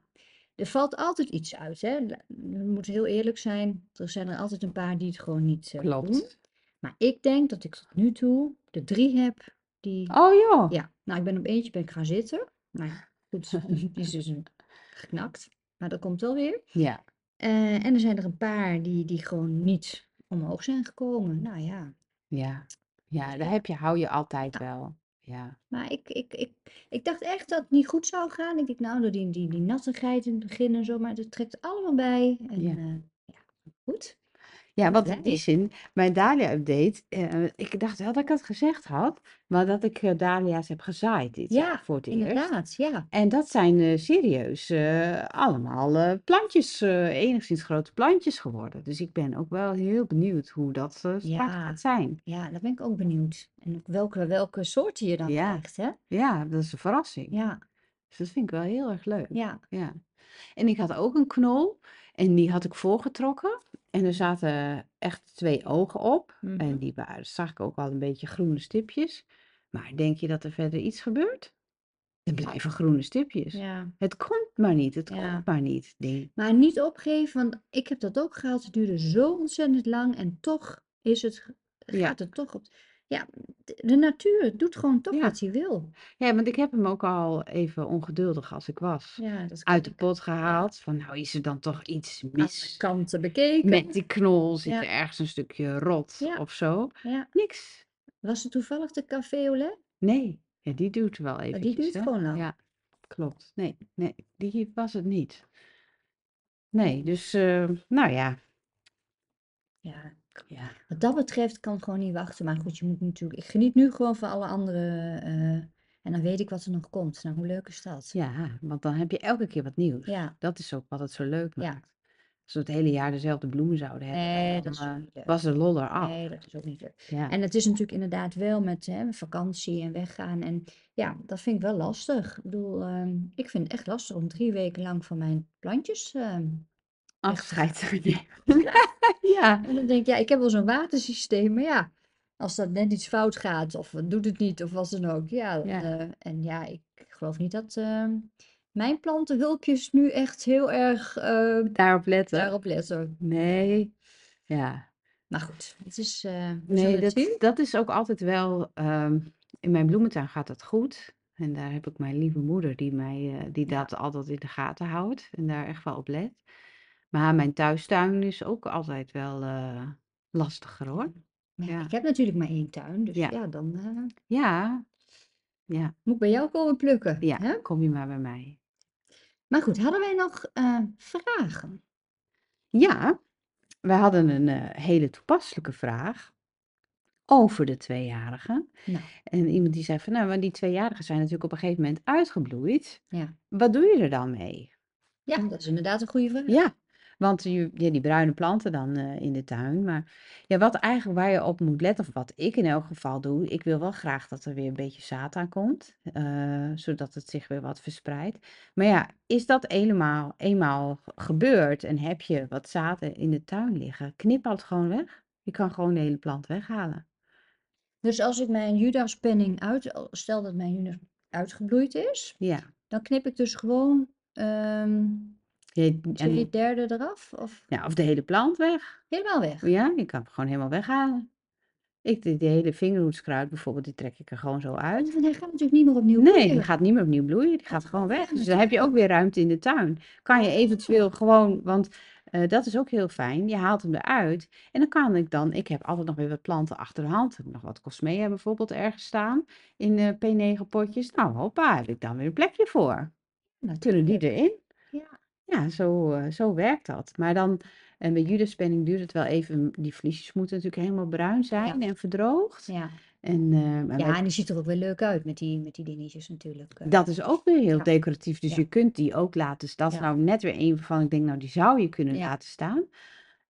Speaker 2: er valt altijd iets uit, hè? La- We moeten heel eerlijk zijn. Er zijn er altijd een paar die het gewoon niet eh, doen.
Speaker 1: Klopt.
Speaker 2: Maar ik denk dat ik tot nu toe de drie heb die.
Speaker 1: Oh joh.
Speaker 2: Ja, nou, ik ben op eentje ben ik gaan zitten. Maar ja, goed, die is dus een geknakt. Maar dat komt wel weer.
Speaker 1: Ja.
Speaker 2: Eh, en er zijn er een paar die, die gewoon niet omhoog zijn gekomen. Nou ja,
Speaker 1: Ja,
Speaker 2: dus
Speaker 1: ja, daar
Speaker 2: ik.
Speaker 1: heb je, hou je altijd
Speaker 2: nou,
Speaker 1: wel. Ja,
Speaker 2: Maar ik, ik, ik, ik dacht echt dat het niet goed zou gaan. Ik dacht, nou, door die, die, die nattigheid in het begin en zo, maar het trekt allemaal bij. En
Speaker 1: ja.
Speaker 2: eh, ja, goed. Ik
Speaker 1: Ja,
Speaker 2: ben
Speaker 1: want in die
Speaker 2: blij.
Speaker 1: zin, mijn Dahlia-update, eh, ik dacht wel dat ik het gezegd had, maar dat ik eh, Dahlia's heb gezaaid dit jaar
Speaker 2: Ja,
Speaker 1: voor het eerst.
Speaker 2: inderdaad. Ja,
Speaker 1: En dat zijn eh, serieus eh, allemaal eh, plantjes, eh, enigszins grote plantjes geworden. Dus ik ben ook wel heel benieuwd hoe dat eh, straks gaat
Speaker 2: ja,
Speaker 1: zijn.
Speaker 2: ja, daar ben ik ook benieuwd. En ook welke, welke soorten je dan
Speaker 1: Ja,
Speaker 2: krijgt, hè?
Speaker 1: ja, dat is een verrassing.
Speaker 2: Ja,
Speaker 1: Dus dat vind ik wel heel erg leuk.
Speaker 2: ja,
Speaker 1: Ja. En ik had ook een knol en die had ik voorgetrokken. En er zaten echt twee ogen op. En
Speaker 2: mhm.
Speaker 1: die waren, zag ik ook al een beetje groene stipjes. Maar denk je dat er verder iets gebeurt? Er blijven groene stipjes.
Speaker 2: Ja,
Speaker 1: Het komt maar niet, het komt
Speaker 2: ja.
Speaker 1: maar niet. Ding.
Speaker 2: Maar niet opgeven, want ik heb dat ook gehad. Het duurde zo ontzettend lang en toch is het, ge-
Speaker 1: Ja,
Speaker 2: gaat het toch op. Ja, de, de natuur doet gewoon toch
Speaker 1: ja.
Speaker 2: wat hij wil.
Speaker 1: Ja, want ik heb hem ook al even ongeduldig als ik was.
Speaker 2: Ja, dat
Speaker 1: Uit
Speaker 2: ken
Speaker 1: de
Speaker 2: ik.
Speaker 1: pot
Speaker 2: Ja.
Speaker 1: gehaald. Van nou is er dan toch iets
Speaker 2: Alle
Speaker 1: mis.
Speaker 2: kanten
Speaker 1: Met
Speaker 2: bekeken.
Speaker 1: die knol zit er
Speaker 2: Ja,
Speaker 1: ergens een stukje rot
Speaker 2: ja,
Speaker 1: of zo.
Speaker 2: ja.
Speaker 1: Niks.
Speaker 2: Was het toevallig de café au lait?
Speaker 1: Nee, ja, die duurt wel
Speaker 2: Eh, Die
Speaker 1: eventjes,
Speaker 2: duurt
Speaker 1: hè?
Speaker 2: gewoon lang.
Speaker 1: Ja, klopt. Nee, nee, die was het niet. Nee, dus, eh, nou ja,
Speaker 2: Ja. k-
Speaker 1: ja,
Speaker 2: Wat dat betreft kan het gewoon niet wachten. Maar goed, je moet natuurlijk. Ik geniet nu gewoon van alle andere. eh, en dan weet ik wat er nog komt. Nou, hoe leuk is dat?
Speaker 1: ja, want dan heb je elke keer wat nieuws.
Speaker 2: Ja,
Speaker 1: Dat is ook wat het zo leuk
Speaker 2: ja.
Speaker 1: maakt. Als we het hele jaar dezelfde bloemen zouden hebben,
Speaker 2: Nee, dat
Speaker 1: dan
Speaker 2: is ook
Speaker 1: eh,
Speaker 2: niet leuk.
Speaker 1: was de lol
Speaker 2: Nee,
Speaker 1: eraf.
Speaker 2: dat is ook niet leuk.
Speaker 1: Ja,
Speaker 2: En het is natuurlijk inderdaad wel met hè, vakantie en weggaan. En ja, dat vind ik wel lastig. Ik bedoel, ehm, ik vind het echt lastig om drie weken lang van mijn plantjes ehm, weg te
Speaker 1: afscheid
Speaker 2: gaan.
Speaker 1: te nemen.
Speaker 2: Ja.
Speaker 1: Ja,
Speaker 2: En dan denk ik, ja, ik heb wel zo'n watersysteem, maar ja, als dat net iets fout gaat, of het doet het niet, of wat dan ook, ja. dan,
Speaker 1: ja,
Speaker 2: eh, en ja, ik geloof niet dat eh, mijn plantenhulpjes nu echt heel erg eh,
Speaker 1: daarop letten.
Speaker 2: daarop letten.
Speaker 1: Nee, ja.
Speaker 2: Maar goed, het is, eh, we
Speaker 1: Nee,
Speaker 2: zullen het
Speaker 1: dat,
Speaker 2: zien.
Speaker 1: dat is ook altijd wel. ehm, in mijn bloementuin gaat dat goed. En daar heb ik mijn lieve moeder die, mij, eh, die
Speaker 2: Ja,
Speaker 1: dat altijd in de gaten houdt en daar echt wel op let. Maar mijn thuistuin is ook altijd wel eh, lastiger hoor.
Speaker 2: ja, ik
Speaker 1: Ja,
Speaker 2: heb natuurlijk maar één tuin, dus
Speaker 1: ja,
Speaker 2: ja, dan eh,
Speaker 1: ja, ja,
Speaker 2: moet ik bij jou komen plukken,
Speaker 1: ja.
Speaker 2: hè?
Speaker 1: Kom je maar bij mij.
Speaker 2: Maar goed, hadden wij nog eh, vragen?
Speaker 1: Ja, wij hadden een eh, hele toepasselijke vraag over de tweejarigen.
Speaker 2: Nou,
Speaker 1: En iemand die zei van nou, maar die tweejarigen zijn natuurlijk op een gegeven moment uitgebloeid.
Speaker 2: ja,
Speaker 1: Wat doe je er dan mee?
Speaker 2: ja, dat is inderdaad een goede vraag.
Speaker 1: Ja, want je, ja, die bruine planten dan eh, in de tuin. Maar ja, wat eigenlijk waar je op moet letten, of wat ik in elk geval doe, ik wil wel graag dat er weer een beetje zaad aan komt, eh, zodat het zich weer wat verspreidt. Maar ja, is dat helemaal, eenmaal gebeurd en heb je wat zaad eh, in de tuin liggen, knip het gewoon weg. Je kan gewoon de hele plant weghalen.
Speaker 2: Dus als ik mijn Judaspenning uit, al- stel dat mijn Judas uitgebloeid is,
Speaker 1: Ja,
Speaker 2: dan knip ik dus gewoon ehm,
Speaker 1: je-
Speaker 2: twee
Speaker 1: en,
Speaker 2: derde eraf of
Speaker 1: ja, of de hele plant weg.
Speaker 2: helemaal weg.
Speaker 1: Ja, je kan hem gewoon helemaal weghalen. Ik, die, die hele vingerhoedskruid bijvoorbeeld, die trek ik er gewoon zo
Speaker 2: Want
Speaker 1: uit.
Speaker 2: hij gaat natuurlijk niet meer opnieuw
Speaker 1: Nee, die
Speaker 2: bloeien.
Speaker 1: gaat niet meer opnieuw bloeien. Die
Speaker 2: Gaat
Speaker 1: gaat
Speaker 2: er
Speaker 1: gewoon
Speaker 2: gewoon
Speaker 1: weg.
Speaker 2: weg
Speaker 1: Dus dan heb je
Speaker 2: natuurlijk.
Speaker 1: ook weer ruimte in de tuin. Kan
Speaker 2: Oh.
Speaker 1: je eventueel gewoon, want eh, dat is ook heel fijn. Je haalt hem eruit. En dan kan ik dan, ik heb altijd nog weer wat planten achter de hand. Ik heb nog wat cosmea bijvoorbeeld ergens staan in eh, P9 potjes. Nou, hoppa, heb ik dan weer een plekje voor. Kunnen die
Speaker 2: Natuurlijk.
Speaker 1: erin?
Speaker 2: Ja.
Speaker 1: Ja, zo, eh, zo werkt dat. Maar dan, en bij judaspenning duurt het wel even. Die vliesjes moeten natuurlijk helemaal bruin
Speaker 2: Ja,
Speaker 1: zijn en verdroogd.
Speaker 2: ja.
Speaker 1: En, eh, maar
Speaker 2: Ja,
Speaker 1: wij,
Speaker 2: en die ziet er ook weer leuk uit met die, met die dingetjes natuurlijk. eh.
Speaker 1: dat is ook weer heel
Speaker 2: ja,
Speaker 1: decoratief. Dus je
Speaker 2: ja,
Speaker 1: kunt die ook laten staan. Dat is
Speaker 2: ja,
Speaker 1: nou net weer een van, ik denk, nou, die zou je kunnen
Speaker 2: ja,
Speaker 1: laten staan.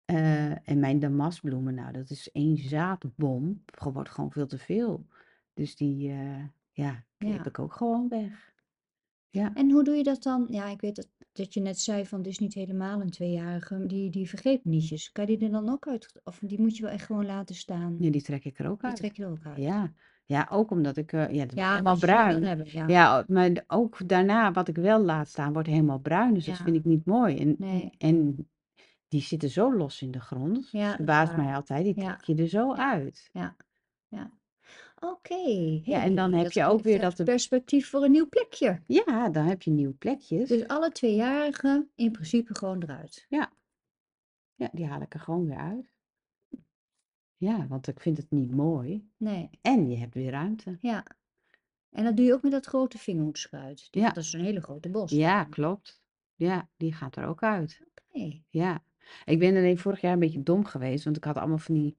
Speaker 1: Eh, en mijn damastbloemen, nou, dat is één zaadbom. Gewoon- Wordt gewoon veel te veel. Dus die, eh, ja, knip
Speaker 2: ja.
Speaker 1: ik ook gewoon weg. Ja.
Speaker 2: En hoe doe je dat dan? Ja, ik weet dat, dat je net zei van, dit is niet helemaal een tweejarige, die, die vergeet nietjes. Kan je die er dan ook uit, of die moet je wel echt gewoon laten staan?
Speaker 1: Ja, die trek ik er ook
Speaker 2: Die
Speaker 1: uit.
Speaker 2: trek je er ook uit.
Speaker 1: Ja, ja ook omdat ik, eh, ja, het wordt
Speaker 2: Ja,
Speaker 1: helemaal
Speaker 2: dat ze het wil
Speaker 1: bruin.
Speaker 2: hebben, ja.
Speaker 1: Ja, maar d- ook daarna, wat ik wel laat staan, wordt helemaal bruin. Dus dat vind
Speaker 2: Ja,
Speaker 1: ik niet mooi. En,
Speaker 2: nee,
Speaker 1: en die zitten zo los in de grond. Dat
Speaker 2: ja, dat is
Speaker 1: verbaast
Speaker 2: waar.
Speaker 1: mij altijd. Die trek
Speaker 2: Ja,
Speaker 1: je er zo
Speaker 2: ja,
Speaker 1: uit.
Speaker 2: ja, ja. Oké,
Speaker 1: Ja, en dan
Speaker 2: hey,
Speaker 1: heb
Speaker 2: dat
Speaker 1: je ook
Speaker 2: geeft
Speaker 1: weer
Speaker 2: eh,
Speaker 1: dat de,
Speaker 2: perspectief voor een nieuw plekje.
Speaker 1: ja, dan heb je nieuwe plekjes.
Speaker 2: Dus alle tweejarigen in principe gewoon eruit.
Speaker 1: Ja, ja, die haal ik er gewoon weer uit. Ja, want ik vind het niet mooi.
Speaker 2: Nee,
Speaker 1: En je hebt weer ruimte.
Speaker 2: ja. En dat doe je ook met dat grote vingerhoedschuit. Die, want
Speaker 1: Ja,
Speaker 2: dat is een hele grote bos
Speaker 1: ja,
Speaker 2: daarvan.
Speaker 1: klopt. Ja, die gaat er ook uit.
Speaker 2: Oké.
Speaker 1: Ja. Ik ben alleen vorig jaar een beetje dom geweest, want ik had allemaal van die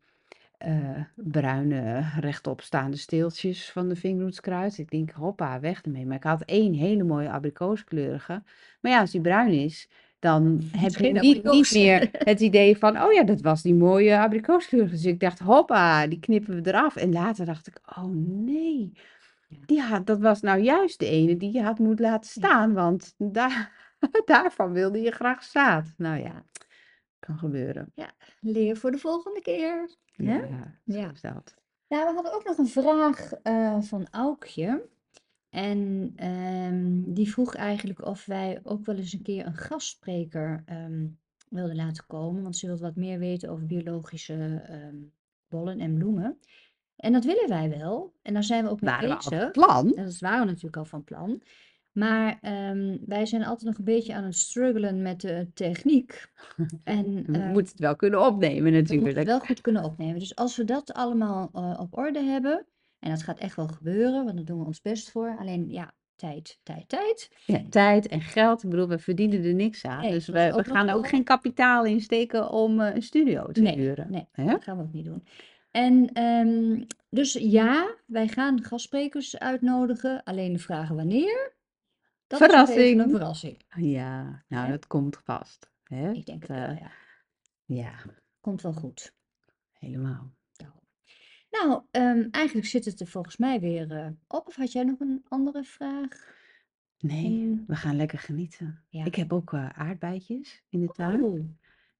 Speaker 1: eh, bruine rechtopstaande steeltjes van de vingerhoedskruid. Ik denk, hoppa, weg ermee. Maar ik had één hele mooie abrikooskleurige. Maar ja, als die bruin is, dan
Speaker 2: Het is
Speaker 1: heb je
Speaker 2: geen
Speaker 1: niet, niet
Speaker 2: abrikoos.
Speaker 1: meer het idee van, oh ja, dat was die mooie abrikooskleurige. Dus ik dacht, hoppa, die knippen we eraf. En later dacht ik, oh nee,
Speaker 2: Ja,
Speaker 1: die had, dat was nou juist de ene die je had moeten laten
Speaker 2: ja,
Speaker 1: staan, want daar, daarvan wilde je graag zaad. Nou ja,
Speaker 2: ja.
Speaker 1: kan gebeuren.
Speaker 2: Ja, leer voor de volgende keer. Hè?
Speaker 1: Ja, zo
Speaker 2: Ja.
Speaker 1: is dat.
Speaker 2: Nou, we hadden ook nog een vraag eh, van Aukje. En ehm, die vroeg eigenlijk of wij ook wel eens een keer een gastspreker ehm, wilden laten komen. Want ze wilde wat meer weten over biologische ehm bollen en bloemen. En dat willen wij wel. En daar zijn we ook mee
Speaker 1: Waren we al van
Speaker 2: bezig.
Speaker 1: plan?
Speaker 2: En dat waren we natuurlijk al van plan. Maar ehm, wij zijn altijd nog een beetje aan het struggelen met de techniek. En
Speaker 1: We
Speaker 2: ehm,
Speaker 1: moeten het wel kunnen opnemen
Speaker 2: we moeten het wel
Speaker 1: natuurlijk.
Speaker 2: goed kunnen opnemen. Dus als we dat allemaal eh, op orde hebben, en dat gaat echt wel gebeuren, want daar doen we ons best voor. Alleen ja, tijd, tijd, tijd.
Speaker 1: Ja, tijd en geld. Ik bedoel, we verdienen er niks aan.
Speaker 2: Nee,
Speaker 1: Dus
Speaker 2: dat is
Speaker 1: we, we
Speaker 2: ook nog
Speaker 1: gaan er ook
Speaker 2: zo.
Speaker 1: geen kapitaal in steken om eh, een studio te
Speaker 2: Nee,
Speaker 1: huren.
Speaker 2: nee,
Speaker 1: Hè?
Speaker 2: dat gaan we ook niet doen. En ehm, dus ja, wij gaan gastsprekers uitnodigen. Alleen de vraag wanneer, dat is nog even een
Speaker 1: Verrassing!
Speaker 2: verrassing.
Speaker 1: Ja, nou
Speaker 2: Hè?
Speaker 1: dat komt vast. Hè?
Speaker 2: Ik denk
Speaker 1: Dat,
Speaker 2: het wel,
Speaker 1: eh,
Speaker 2: ja.
Speaker 1: ja,
Speaker 2: Komt wel goed.
Speaker 1: helemaal.
Speaker 2: Nou, nou, ehm, eigenlijk zit het er volgens mij weer eh, op. Of had jij nog een andere vraag?
Speaker 1: Nee,
Speaker 2: En
Speaker 1: we gaan lekker genieten.
Speaker 2: ja.
Speaker 1: Ik heb ook eh, aardbeidjes in de tuin.
Speaker 2: Oeh,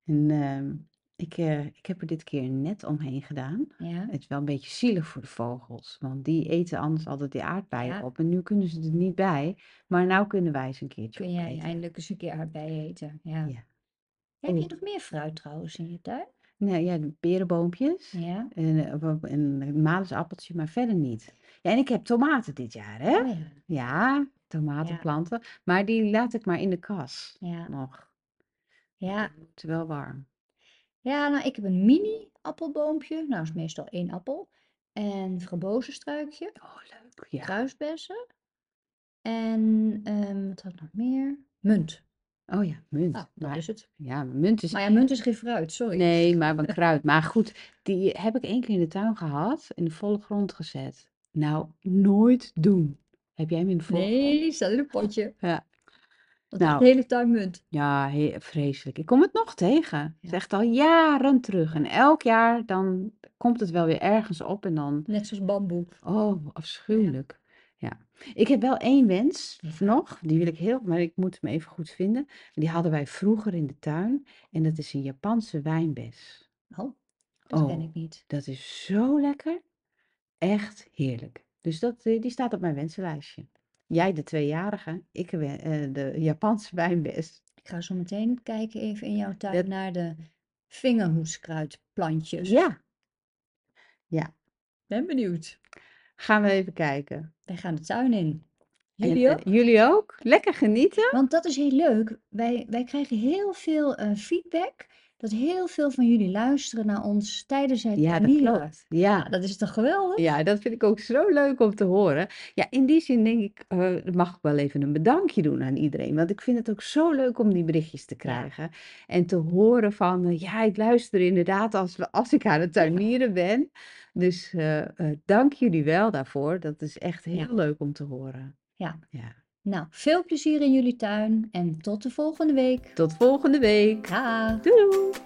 Speaker 1: En ehm, ik, eh, ik heb er dit keer een net omheen gedaan.
Speaker 2: ja.
Speaker 1: Het is wel een beetje zielig voor de vogels, want die eten anders altijd die aardbeien
Speaker 2: Ja,
Speaker 1: op. En nu kunnen ze er niet bij, maar nou kunnen wij ze een keertje
Speaker 2: kun jij
Speaker 1: opeten.
Speaker 2: eindelijk eens een keer aardbeien eten. Ja.
Speaker 1: Ja.
Speaker 2: Heb je
Speaker 1: Oh,
Speaker 2: nog meer fruit trouwens in je tuin?
Speaker 1: nou ja, de perenboompjes
Speaker 2: Ja.
Speaker 1: en, eh, wa- en een malusappeltje, maar verder niet. Ja, en ik heb tomaten dit jaar, hè?
Speaker 2: Oh ja.
Speaker 1: Ja,
Speaker 2: Ja,
Speaker 1: tomatenplanten, maar die laat ik maar in de kas
Speaker 2: ja,
Speaker 1: nog. Want
Speaker 2: ja.
Speaker 1: die moeten wel warm.
Speaker 2: Ja, nou, ik heb een mini-appelboompje. Nou, is meestal één appel. En frambozenstruikje,
Speaker 1: Oh, leuk. Ja.
Speaker 2: kruisbessen. En ehm, wat had ik nog meer? Munt.
Speaker 1: Oh ja, munt.
Speaker 2: Nou, dat
Speaker 1: Maar
Speaker 2: is het.
Speaker 1: ja, munt is.
Speaker 2: Maar ja, munt is geen fruit, sorry.
Speaker 1: Nee, maar van kruid. Maar goed, die heb ik één keer in de tuin gehad, in de volle grond gezet. Nou, nooit doen. Heb jij hem in de volle grond?
Speaker 2: Nee, staat in een potje.
Speaker 1: Ja.
Speaker 2: Dat is echt
Speaker 1: Nou,
Speaker 2: de hele tuin munt.
Speaker 1: ja, he- vreselijk. Ik kom het nog tegen. Het is
Speaker 2: Ja,
Speaker 1: echt al jaren terug. En
Speaker 2: ja.
Speaker 1: elk jaar dan komt het wel weer ergens op en dan,
Speaker 2: Net zoals bamboe.
Speaker 1: oh,
Speaker 2: Ja,
Speaker 1: afschuwelijk. Ja. Ik heb wel één wens
Speaker 2: ja.
Speaker 1: nog, die wil ik heel, maar ik moet hem even goed vinden. Die hadden wij vroeger in de tuin en dat is een Japanse wijnbes.
Speaker 2: Nou, dat ken
Speaker 1: Oh,
Speaker 2: ik niet.
Speaker 1: dat is zo lekker. Echt heerlijk. Dus dat, eh, die staat op mijn wensenlijstje. Jij de tweejarige, ik de we- eh, de Japanse wijnbes.
Speaker 2: Ik ga zo meteen kijken even in jouw tuin
Speaker 1: Dat,
Speaker 2: naar de vingerhoedskruidplantjes.
Speaker 1: ja, ja.
Speaker 2: Ben benieuwd.
Speaker 1: Gaan we even kijken.
Speaker 2: Wij gaan de tuin in.
Speaker 1: En
Speaker 2: Jullie
Speaker 1: eh,
Speaker 2: ook?
Speaker 1: jullie ook? Lekker genieten?
Speaker 2: Want dat is heel leuk. Wij, wij krijgen heel veel eh, feedback. dat heel veel van jullie luisteren naar ons tijdens het
Speaker 1: Ja, dat
Speaker 2: leren.
Speaker 1: klopt. Ja.
Speaker 2: Ja, dat is toch geweldig?
Speaker 1: Ja, dat vind ik ook zo leuk om te horen. Ja, in die zin denk ik, eh, mag ik wel even een bedankje doen aan iedereen. Want ik vind het ook zo leuk om die berichtjes te krijgen. En te horen van, eh, ja, ik luister inderdaad als, we- als ik aan het tuinieren ben. Dus eh, eh, dank jullie wel daarvoor. Dat is echt heel leuk om te horen.
Speaker 2: Ja.
Speaker 1: Ja.
Speaker 2: Nou, veel plezier in jullie tuin en tot de volgende week.
Speaker 1: Tot volgende week.
Speaker 2: Dag!
Speaker 1: Doei!